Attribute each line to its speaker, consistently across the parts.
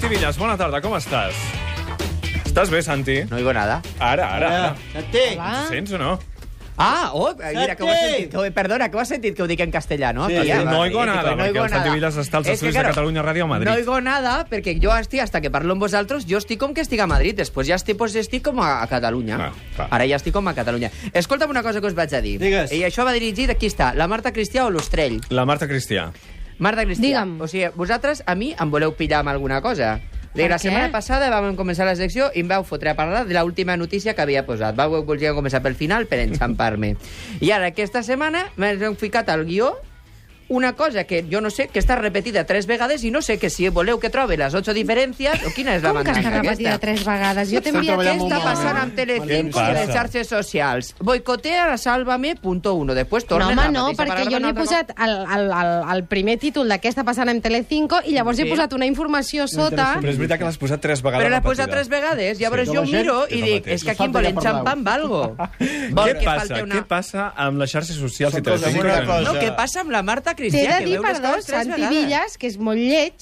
Speaker 1: Codines, bona tarda, com estàs? Estàs bé, Santi?
Speaker 2: No oigo nada.
Speaker 1: Ara, ara, ara.
Speaker 3: Santi!
Speaker 1: Em Sents o no?
Speaker 2: Ah, oh, mira, que ho has
Speaker 3: Santi!
Speaker 2: sentit. Que, ho- perdona, que ho has sentit que ho dic en castellà, no?
Speaker 3: Sí,
Speaker 2: Aquí,
Speaker 3: sí.
Speaker 2: ah,
Speaker 1: No oigo
Speaker 2: eh,
Speaker 1: nada,
Speaker 2: no
Speaker 1: perquè
Speaker 2: oigo
Speaker 1: el Santi
Speaker 2: nada.
Speaker 1: Vila està als
Speaker 2: És
Speaker 1: estudis
Speaker 2: que,
Speaker 1: de Catalunya Ràdio a Madrid.
Speaker 2: No oigo nada porque yo estoy hasta que parlo amb vosaltres, yo estoy com que estic a Madrid, després ja estic, pues, estic com a, a Catalunya.
Speaker 1: Ah, clar.
Speaker 2: Ara ja estic com a Catalunya. Escolta'm una cosa que us vaig a dir.
Speaker 3: Digues.
Speaker 2: I això va dirigit, aquí està, la Marta Cristià o l'Ostrell.
Speaker 1: La Marta Cristià.
Speaker 2: Marta Cristià,
Speaker 4: Digue'm.
Speaker 2: o sigui, vosaltres a mi em voleu pillar amb alguna cosa. Bé,
Speaker 4: Per
Speaker 2: la
Speaker 4: què?
Speaker 2: setmana passada vam començar la secció i em vau fotre a parlar de l'última notícia que havia posat. Vau voler començar pel final per enxampar-me. I ara, aquesta setmana, m'han ficat al guió una cosa que jo no sé, que està repetida tres vegades i no sé que si voleu que trobe les ocho diferències o quina és la
Speaker 4: Com que està
Speaker 2: mandanga
Speaker 4: repetida
Speaker 2: aquesta.
Speaker 4: tres vegades? Jo t'he
Speaker 3: Estan
Speaker 4: enviat
Speaker 3: treballant
Speaker 2: Què
Speaker 4: aquesta
Speaker 2: està
Speaker 3: molt
Speaker 2: passant
Speaker 3: malament.
Speaker 2: amb Telecinco i
Speaker 1: Malament.
Speaker 2: les xarxes socials? Boicotea la Sálvame.1. Després
Speaker 4: No,
Speaker 2: tornen
Speaker 4: home,
Speaker 2: a la
Speaker 4: no,
Speaker 2: mateixa
Speaker 4: perquè
Speaker 2: paraula,
Speaker 4: jo li he
Speaker 2: no, no, no.
Speaker 4: posat el, el, el, el primer títol d'aquesta passant en Telecinco i llavors
Speaker 2: Sí.
Speaker 4: he posat una informació sota...
Speaker 1: Però és veritat que l'has posat tres vegades
Speaker 2: Ah. Però l'ha posat
Speaker 1: repetida.
Speaker 2: tres vegades. Llavors
Speaker 3: Sí.
Speaker 2: jo
Speaker 3: La gent-
Speaker 2: miro i
Speaker 1: És el
Speaker 2: dic,
Speaker 1: mateix.
Speaker 2: és que
Speaker 3: Falta
Speaker 2: aquí em
Speaker 3: que
Speaker 2: volen
Speaker 3: parlar-ho.
Speaker 2: xampar amb algo. Vol
Speaker 1: Què
Speaker 2: que
Speaker 1: passa?
Speaker 2: falti
Speaker 1: Què passa amb les xarxes socials i
Speaker 3: Són coses
Speaker 1: Telecinco?
Speaker 3: una cosa.
Speaker 2: No, què passa amb la Marta
Speaker 4: T'he
Speaker 2: Cristià? que
Speaker 4: de dir,
Speaker 2: veu les
Speaker 4: perdó,
Speaker 2: coses tres
Speaker 4: Santi
Speaker 2: vegades.
Speaker 4: Villas, que és molt lleig,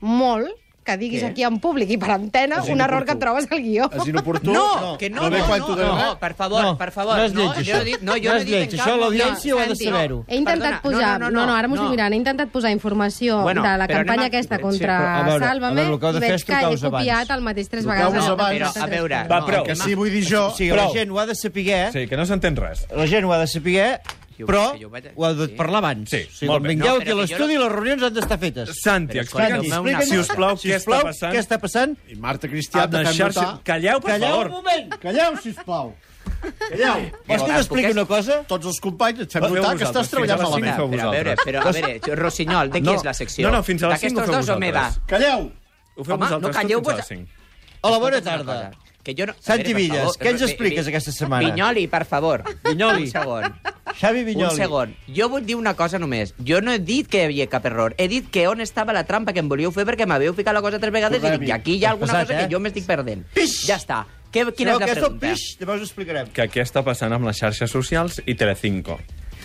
Speaker 4: molt, que diguis
Speaker 2: Què?
Speaker 4: aquí en públic i per antena
Speaker 3: És
Speaker 4: un
Speaker 3: inoportú.
Speaker 4: error que et trobes al guió.
Speaker 3: És inoportú?
Speaker 2: No, que no,
Speaker 3: ve
Speaker 2: no,
Speaker 3: quan
Speaker 2: no,
Speaker 3: tu demanes.
Speaker 2: no, per favor,
Speaker 5: No,
Speaker 2: per favor.
Speaker 5: no és lleig,
Speaker 2: jo he
Speaker 5: això.
Speaker 2: dit- no, jo
Speaker 5: No
Speaker 2: no
Speaker 5: és
Speaker 2: he dit
Speaker 5: lleig,
Speaker 2: en
Speaker 5: això
Speaker 2: cap moment.
Speaker 5: l'audiència ho ha de
Speaker 2: Santi,
Speaker 5: saber-ho.
Speaker 2: no.
Speaker 4: He intentat
Speaker 2: Perdona,
Speaker 4: posar... No, no, no, ara m'ho eh. estic mirant. He intentat posar informació
Speaker 2: Bueno,
Speaker 4: de la
Speaker 2: però
Speaker 4: campanya
Speaker 2: anem a-
Speaker 4: aquesta
Speaker 2: Sí,
Speaker 4: contra
Speaker 5: però a veure, a
Speaker 4: Sálvame
Speaker 5: veure, el que heu de
Speaker 4: i
Speaker 5: fer
Speaker 4: veig
Speaker 5: és
Speaker 4: que he
Speaker 5: trucar-vos abans.
Speaker 4: copiat el mateix tres
Speaker 3: Trucar-vos
Speaker 4: vegades.
Speaker 2: No,
Speaker 3: abans.
Speaker 2: però, a veure...
Speaker 1: Va,
Speaker 2: no,
Speaker 1: prou.
Speaker 2: que
Speaker 3: Que
Speaker 2: ma-
Speaker 3: sí, vull dir jo...
Speaker 5: O sigui,
Speaker 1: Prou.
Speaker 5: la gent ho ha de saber, eh?
Speaker 1: Sí, que no s'entén res.
Speaker 5: la gent ho ha de saber,
Speaker 2: Jo-
Speaker 5: però
Speaker 2: que jo vaig-
Speaker 5: ho ha de
Speaker 2: sí.
Speaker 5: parlar abans.
Speaker 1: Sí,
Speaker 5: o sigui,
Speaker 1: molt
Speaker 5: quan
Speaker 1: bé.
Speaker 5: vingueu
Speaker 2: No,
Speaker 5: aquí a
Speaker 2: però que jo
Speaker 5: l'estudi, les reunions han d'estar fetes.
Speaker 1: Santi,
Speaker 2: Però escolta,
Speaker 1: explica'ns,
Speaker 2: deu-me una
Speaker 1: si us
Speaker 2: cosa.
Speaker 1: plau, què està
Speaker 5: Sisplau,
Speaker 1: passant
Speaker 5: Què està passant?
Speaker 3: I Marta Cristià,
Speaker 1: amb
Speaker 3: te
Speaker 1: les
Speaker 3: fem
Speaker 1: xarxes...
Speaker 3: notar...
Speaker 1: Calleu, per
Speaker 5: Calleu un
Speaker 1: favor.
Speaker 5: moment!
Speaker 3: Calleu, sisplau! Calleu!
Speaker 5: Vols que
Speaker 2: Vosaltres,
Speaker 5: t'expliqui una cosa?
Speaker 3: Tots els companys et fem
Speaker 1: Feu
Speaker 3: notar que
Speaker 1: vosaltres,
Speaker 3: estàs treballant
Speaker 1: fins a les
Speaker 3: malament.
Speaker 1: cinc
Speaker 2: Però, a veure, però, a veure, jo- Rossinyol, de qui
Speaker 1: No,
Speaker 2: és la secció?
Speaker 1: no, no, fins a les cinc ho feu
Speaker 2: D'aquestos dos o meva?
Speaker 1: vosaltres.
Speaker 3: Calleu!
Speaker 1: Ho feu
Speaker 2: Home,
Speaker 1: vosaltres,
Speaker 2: no calleu
Speaker 1: tot fins a les
Speaker 2: vos-
Speaker 1: cinc.
Speaker 5: Hola, bona
Speaker 2: Escolta'm una
Speaker 5: tarda.
Speaker 2: cosa, Que jo no... a
Speaker 5: Santi
Speaker 2: veure, per
Speaker 5: Villas,
Speaker 2: favor,
Speaker 5: què ens
Speaker 2: Ro-
Speaker 5: expliques
Speaker 2: Vi-
Speaker 5: aquesta setmana?
Speaker 2: Vinyoli, per favor.
Speaker 5: Vinyoli.
Speaker 2: Un segon.
Speaker 5: Xavi
Speaker 2: Un
Speaker 5: Vinyoli.
Speaker 2: segon. Jo vull dir una cosa només. Jo no he dit que hi havia cap error. He dit que on estava la trampa que em volíeu fer perquè m'havíeu ficat la cosa tres vegades i dic, i aquí hi ha alguna
Speaker 5: Pesat,
Speaker 2: cosa
Speaker 5: eh?
Speaker 2: que jo m'estic perdent.
Speaker 5: Pix!
Speaker 2: Ja està. Que, quina
Speaker 5: Sabeu
Speaker 2: és la
Speaker 5: què el
Speaker 2: pregunta?
Speaker 5: pix? Llavors ho explicarem.
Speaker 1: Que què està passant amb les xarxes socials i Telecinco?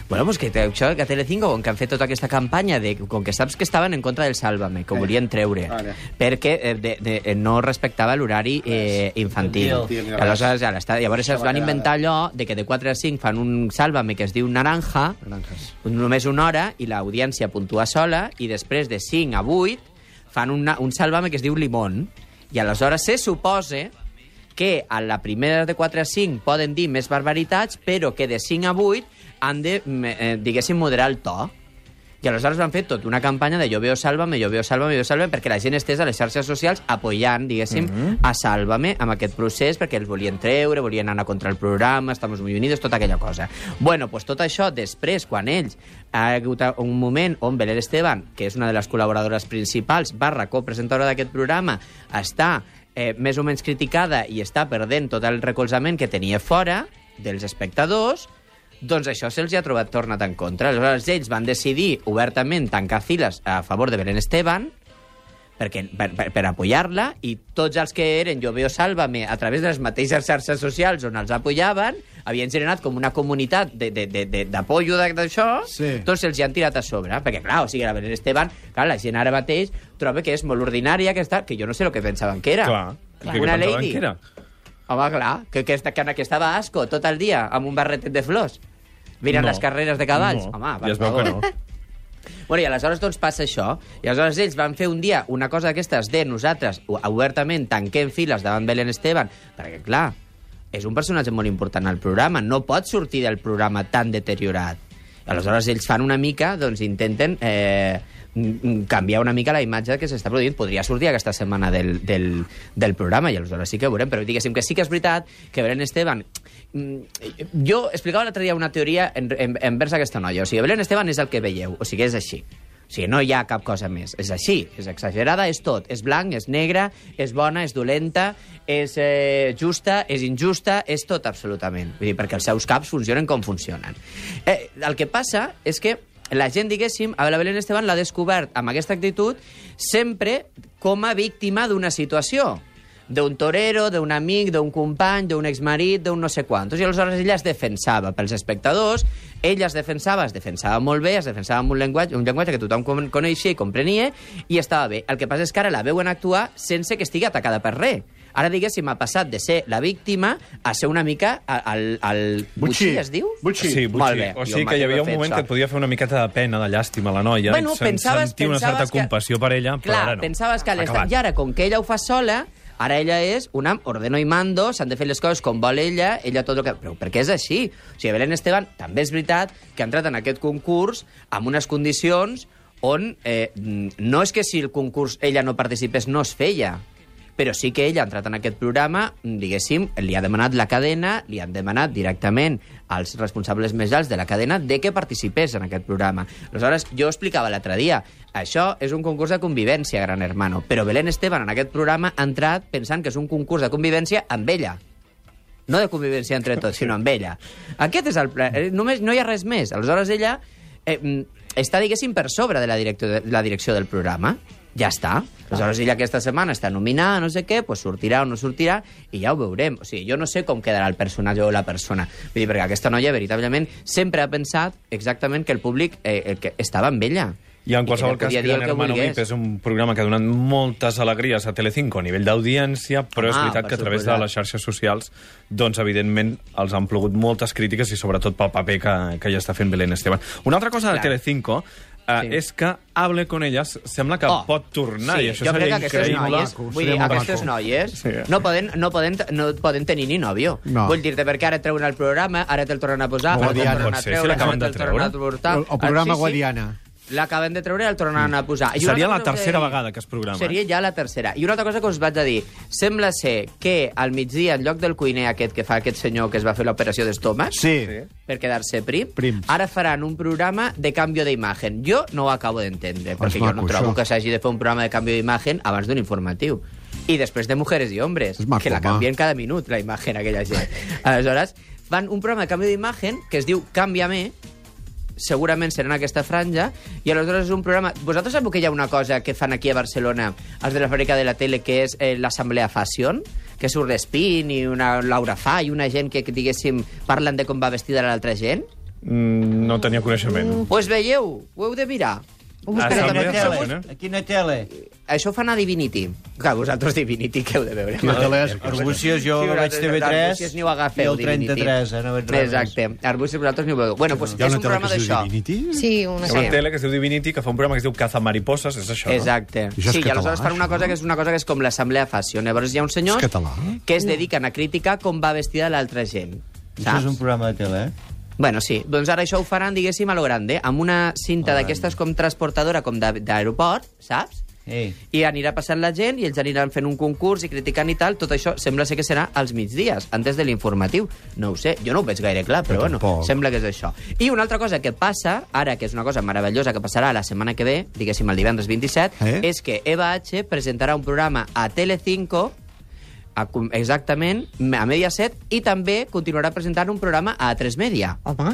Speaker 2: Bueno, pues que, te- això, que Telecinco, com que han fet tota aquesta campanya, de, com que saps que estaven en contra del Sálvame,
Speaker 5: Eh.
Speaker 2: que ho volien treure,
Speaker 3: Vale.
Speaker 2: perquè eh, de, de, eh, no respectava l'horari eh, infantil.
Speaker 3: Infantil, ni res.
Speaker 2: Aleshores, ara està, llavors es
Speaker 3: va
Speaker 2: van
Speaker 3: quedar,
Speaker 2: inventar allò de que de 4 a 5 fan un Sálvame que es diu Naranja,
Speaker 3: Naranjas.
Speaker 2: només una hora, i l'audiència puntua sola, i després de 5 a 8 fan una, un Sálvame que es diu Limón, i aleshores se suposa que a la primera de 4 a 5 poden dir més barbaritats, però que de 5 a 8 han de, mm, eh, diguéssim, moderar el to. I aleshores van fer tot una campanya de jo veo Sálvame, jo veo Sálvame, jo veo Sálvame, perquè la gent estés a les xarxes socials apoyant, diguéssim, a Sálvame amb aquest procés, perquè els volien treure, volien anar contra el programa, Estamos Muy Unidos, tota aquella cosa. Bueno, pues tot això, després, quan ells ha hagut un moment on Belén Esteban, que és una de les col·laboradores principals, barra copresentadora d'aquest programa, està eh, més o menys criticada i està perdent tot el recolzament que tenia fora dels espectadors, doncs això se'ls hi ha trobat tornat en contra. Aleshores, ells van decidir obertament tancar files a favor de Belén Esteban perquè, per, per, per apoyar-la i tots els que eren Jo veo Sálvame a través de les mateixes xarxes socials on els apoyaven havien generat com una comunitat de- de- de- de- d'apollo de- d'això,
Speaker 3: Sí.
Speaker 2: tots se'ls hi han tirat a sobre, perquè clar, o sigui, la Belén Esteban, clar, la gent ara mateix troba que és molt ordinària, que, està, que jo no sé el que pensaven que era.
Speaker 1: Clar. Clar.
Speaker 2: Una
Speaker 1: pensava
Speaker 2: lady.
Speaker 1: que era.
Speaker 2: Home, clar, que, que, esta, que, que estava a asco tot el dia amb un barretet de flors mirant
Speaker 1: No.
Speaker 2: les carreres de cavalls.
Speaker 1: No,
Speaker 2: Home, per
Speaker 1: ja es veu
Speaker 2: favor.
Speaker 1: que no.
Speaker 2: Bueno, i aleshores doncs passa això. I aleshores ells van fer un dia una cosa d'aquestes de nosaltres o- obertament tanquem files davant Belén Esteban, perquè clar, és un personatge molt important al programa, no pot sortir del programa tan deteriorat. Aleshores ells fan una mica, doncs intenten eh, mm, mm, canviar una mica la imatge que s'està produint. Podria sortir aquesta setmana del, del, del programa i aleshores sí que ho veurem, però diguéssim que sí que és veritat que Belén Esteban... mm, Jo explicava l'altre dia una teoria en, en, envers aquesta noia. O sigui, Belén Esteban és el que veieu, o sigui, és així. O sigui, no hi ha cap cosa més. És així, és exagerada, és tot. És blanc, és negra, és bona, és dolenta, és eh, justa, és injusta, és tot absolutament. Vull dir, perquè els seus caps funcionen com funcionen. Eh, el que passa és que la gent, diguéssim, a la Belén Esteban l'ha descobert amb aquesta actitud sempre com a víctima d'una situació. d'un torero, d'un amic, d'un company, d'un exmarit, d'un no sé quantos. I aleshores ella es defensava pels espectadors, ella es defensava, es defensava molt bé, es defensava amb un llenguatge, un llenguatge que tothom con- coneixia i comprenia, i estava bé. El que passa és que ara la veuen actuar sense que estigui atacada per res. Ara, diguéssim, ha passat de ser la víctima a ser una mica a- al... al
Speaker 3: Butxí.
Speaker 2: butxí, es diu?
Speaker 3: Butxí.
Speaker 1: Sí, butxi.
Speaker 2: Molt bé.
Speaker 1: O
Speaker 2: Jo
Speaker 1: sigui que hi havia un
Speaker 2: m'agrada
Speaker 1: moment
Speaker 2: fer
Speaker 1: que et podia fer una miqueta de pena, de llàstima, la noia.
Speaker 2: Bueno,
Speaker 1: i sen-
Speaker 2: pensaves,
Speaker 1: sentir una certa
Speaker 2: pensaves que-
Speaker 1: compassió per ella, però
Speaker 2: Clar,
Speaker 1: ara no.
Speaker 2: pensaves que
Speaker 1: S'ha acabat.
Speaker 2: l'estat... I ara, com que ella ho fa sola, ara ella és una ordeno i mando, s'han de fer les coses com vol ella, ella tot el que... Però perquè és així. O sigui, Belén Esteban també és veritat que ha entrat en aquest concurs amb unes condicions on eh, no és que si el concurs ella no participés no es feia, però sí que ella ha entrat en aquest programa, diguéssim, li ha demanat la cadena, li han demanat directament als responsables més alts de la cadena de que participés en aquest programa. Aleshores, jo ho explicava l'altre dia, això és un concurs de convivència, Gran Hermano, però Belén Esteban en aquest programa ha entrat pensant que és un concurs de convivència amb ella. No de convivència entre tots, sinó amb ella. Aquest és el... pla- eh, Només no hi ha res més. Aleshores, ella eh, mm, està, diguéssim, per sobre de la, directo, de la direcció del programa. Ja està. Aleshores, ella aquesta setmana està nominada, no sé què, pues sortirà o no sortirà, i ja ho veurem. O sigui, jo no sé com quedarà el personatge o la persona. Vull dir, perquè aquesta noia, veritablement, sempre ha pensat exactament que el públic eh, el que estava amb ella.
Speaker 1: I en
Speaker 2: que
Speaker 1: qualsevol
Speaker 2: ella
Speaker 1: cas,
Speaker 2: podia dir el
Speaker 1: Gran
Speaker 2: que
Speaker 1: Hermano
Speaker 2: volgués.
Speaker 1: VIP és un programa que ha donat moltes alegries a Telecinco a nivell d'audiència, però és
Speaker 2: Ah,
Speaker 1: veritat
Speaker 2: per
Speaker 1: que a través de
Speaker 2: suposat.
Speaker 1: les xarxes socials, doncs, evidentment, els han plogut moltes crítiques i sobretot pel paper que, que hi està fent Belén Esteban. Una altra cosa de
Speaker 2: Clar.
Speaker 1: Telecinco eh,
Speaker 2: Sí.
Speaker 1: és que Hable con ellas sembla que
Speaker 2: Oh,
Speaker 1: pot tornar, i això
Speaker 2: jo
Speaker 1: seria
Speaker 2: crec que aquestes
Speaker 1: increïble.
Speaker 2: noies,
Speaker 3: Maco,
Speaker 2: vull
Speaker 3: seria
Speaker 2: dir,
Speaker 3: molt
Speaker 2: aquestes
Speaker 3: maco.
Speaker 2: noies
Speaker 1: Sí.
Speaker 2: no, poden, no, poden, no poden tenir ni nòvio.
Speaker 3: No.
Speaker 2: Vull dir-te perquè ara treuen el programa, ara te'l tornen a posar,
Speaker 1: No,
Speaker 2: ara te'l
Speaker 1: Guadiana.
Speaker 2: tornen
Speaker 1: Pot
Speaker 2: a
Speaker 1: ser, si
Speaker 2: treure,
Speaker 1: l'acaben
Speaker 2: ara
Speaker 1: de
Speaker 2: te'l tornen a
Speaker 1: treure.
Speaker 2: portar.
Speaker 3: El, el programa
Speaker 2: Ah,
Speaker 3: sí, Guadiana.
Speaker 2: L'acaben de treure i el tornen a posar. I una
Speaker 1: Mm. Seria
Speaker 2: altra
Speaker 1: la
Speaker 2: cosa
Speaker 1: tercera
Speaker 2: que-
Speaker 1: vegada que es programa. eh?
Speaker 2: Seria ja la tercera. I una altra cosa que us vaig a dir. Sembla ser que al migdia, en lloc del cuiner aquest que fa aquest senyor que es va fer l'operació d'estómac,
Speaker 3: Sí.
Speaker 2: per quedar-se prim,
Speaker 3: Prims.
Speaker 2: ara faran un programa de canvi d'imatge. Jo no ho acabo d'entendre, perquè jo
Speaker 3: maco,
Speaker 2: no trobo
Speaker 3: això.
Speaker 2: que s'hagi de fer un programa de canvi d'imatge abans d'un informatiu. I després de Mujeres i Hombres,
Speaker 3: És maco,
Speaker 2: que la
Speaker 3: home.
Speaker 2: canvien cada minut, la imatge, aquella gent. Aleshores, fan un programa de canvi d'imatge que es diu Canvia-me, segurament serà en aquesta franja, i aleshores és un programa... Vosaltres sabeu que hi ha una cosa que fan aquí a Barcelona, els de la fàbrica de la tele, que és eh, l'Assemblea Fashion, que surt l'Espin i una Laura Fa i una gent que, que, diguéssim, parlen de com va vestida l'altra gent?
Speaker 1: Mm, no tenia coneixement.
Speaker 2: Doncs pues veieu, ho heu de mirar.
Speaker 4: Ho
Speaker 1: Ah,
Speaker 4: buscaré
Speaker 1: sí,
Speaker 4: també.
Speaker 5: Quina
Speaker 1: Assemblea
Speaker 5: tele?
Speaker 1: Fashion,
Speaker 5: A eh? quina tele?
Speaker 2: Això ho fan a Divinity. Clar, vosaltres Divinity, que heu de veure?
Speaker 3: Quina tele és?
Speaker 5: Arbúcies, jo
Speaker 2: Sí,
Speaker 5: vaig
Speaker 2: vosaltres,
Speaker 5: TV3
Speaker 2: Arbúcies ni ho agafeu,
Speaker 5: i el
Speaker 2: Divinity.
Speaker 5: 33, ara no veig res
Speaker 2: Exacte. Arbúcies, vosaltres ni ho veieu. Bueno, doncs és un programa d'això.
Speaker 3: Divinity?
Speaker 4: Sí, una
Speaker 1: Hi ha una
Speaker 2: Sí.
Speaker 1: tele que es diu Divinity que fa un programa que es diu Caza Mariposas, és això,
Speaker 2: Exacte.
Speaker 3: Això és
Speaker 2: sí, i
Speaker 3: català,
Speaker 2: aleshores fan una
Speaker 3: això,
Speaker 2: cosa que és una cosa que és com l'assemblea fashion. Llavors hi ha uns senyors
Speaker 3: És català?
Speaker 2: que es dediquen a criticar com va vestida l'altra gent.
Speaker 5: Això és
Speaker 2: Saps?
Speaker 5: un programa de tele, eh?
Speaker 2: Bueno, sí. Doncs ara això ho faran, diguéssim, a lo grande, amb una cinta d'aquestes com transportadora, com de- d'aeroport, saps?
Speaker 5: Ei.
Speaker 2: I anirà passant la gent i ells aniran fent un concurs i criticant i tal. Tot això sembla ser que serà als migdies, antes de l'informatiu. No ho sé, jo no ho veig gaire clar, però
Speaker 3: Jo
Speaker 2: bueno,
Speaker 3: tampoc.
Speaker 2: sembla que és això. I una altra cosa que passa, ara, que és una cosa meravellosa que passarà la setmana que ve, diguéssim el divendres 27,
Speaker 3: Eh?
Speaker 2: eh? és que Eva H presentarà un programa a Telecinco a, com- exactament, a Mediaset, i també continuarà presentant un programa a A3 Media.
Speaker 3: Home.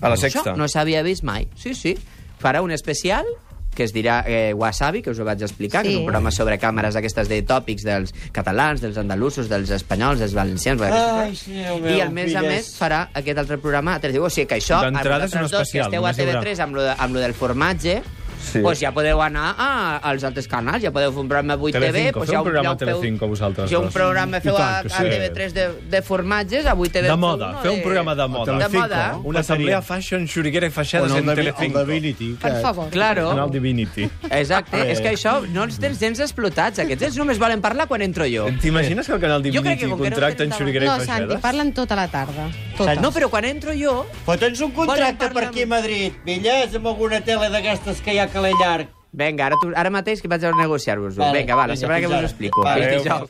Speaker 1: A la sexta.
Speaker 2: Doncs Això no s'havia vist mai. Sí, sí. Farà un especial que es dirà eh, Wasabi, que us ho vaig explicar,
Speaker 4: Sí.
Speaker 2: que és un programa sobre càmeres aquestes de tòpics dels catalans, dels andalusos, dels espanyols, dels valencians...
Speaker 5: Ai, sí, el meu,
Speaker 2: I el mes a
Speaker 5: filles.
Speaker 2: més farà aquest altre programa a 3 O sigui que això, a
Speaker 1: D'entrada és un
Speaker 2: vosaltres dos que
Speaker 1: especial,
Speaker 2: esteu a
Speaker 1: només hi haurà.
Speaker 2: TV3 amb lo, de, amb lo del formatge,
Speaker 1: Sí.
Speaker 2: sí. pues ja podeu anar a, als altres canals, ja podeu fer un programa a 8 TV...
Speaker 1: Telecinco,
Speaker 2: Pues
Speaker 1: feu
Speaker 2: ja
Speaker 1: un programa
Speaker 2: ja
Speaker 1: a
Speaker 2: ho feu-
Speaker 1: Telecinco, vosaltres
Speaker 2: Ja un
Speaker 1: dos.
Speaker 2: programa
Speaker 3: I
Speaker 2: feu a,
Speaker 3: tant que
Speaker 2: a
Speaker 1: sí.
Speaker 2: TV3 de, de formatges, a 8 TV...
Speaker 1: De
Speaker 2: feu
Speaker 1: moda,
Speaker 2: uno
Speaker 1: feu un programa de moda.
Speaker 2: eh, De
Speaker 3: Telecinco.
Speaker 2: moda.
Speaker 1: Una assemblea fashion, xuriguera i faixades en Telecinco.
Speaker 3: Divinity.
Speaker 4: Per favor.
Speaker 2: Claro.
Speaker 1: En el Divinity.
Speaker 2: Exacte, és
Speaker 5: Eh.
Speaker 2: que això no els tens gens explotats. Aquests ells només volen parlar quan entro jo.
Speaker 1: T'imagines que el canal
Speaker 2: Jo crec
Speaker 1: Divinity
Speaker 2: que com que no
Speaker 1: contracta en
Speaker 2: tenen
Speaker 1: Xuriguera
Speaker 4: No,
Speaker 1: i
Speaker 4: Santi,
Speaker 1: Faixedes?
Speaker 4: parlen tota la tarda. Tota.
Speaker 2: No, però quan entro jo...
Speaker 5: Fota'ns un
Speaker 2: Volen
Speaker 5: contracte
Speaker 2: parlar
Speaker 5: per aquí a
Speaker 2: amb-
Speaker 5: Madrid, Villas, amb alguna tele d'aquestes que hi ha a Calé Llarg.
Speaker 2: Vinga, ara, tu, ara mateix que vaig a negociar-vos-ho.
Speaker 5: Vale,
Speaker 2: Vinga, va, la
Speaker 5: vinga,
Speaker 2: setmana que
Speaker 5: fins
Speaker 2: vos ho
Speaker 5: ara.
Speaker 2: explico.
Speaker 5: Vale.
Speaker 2: Fins
Speaker 1: Adéu.
Speaker 2: dijous.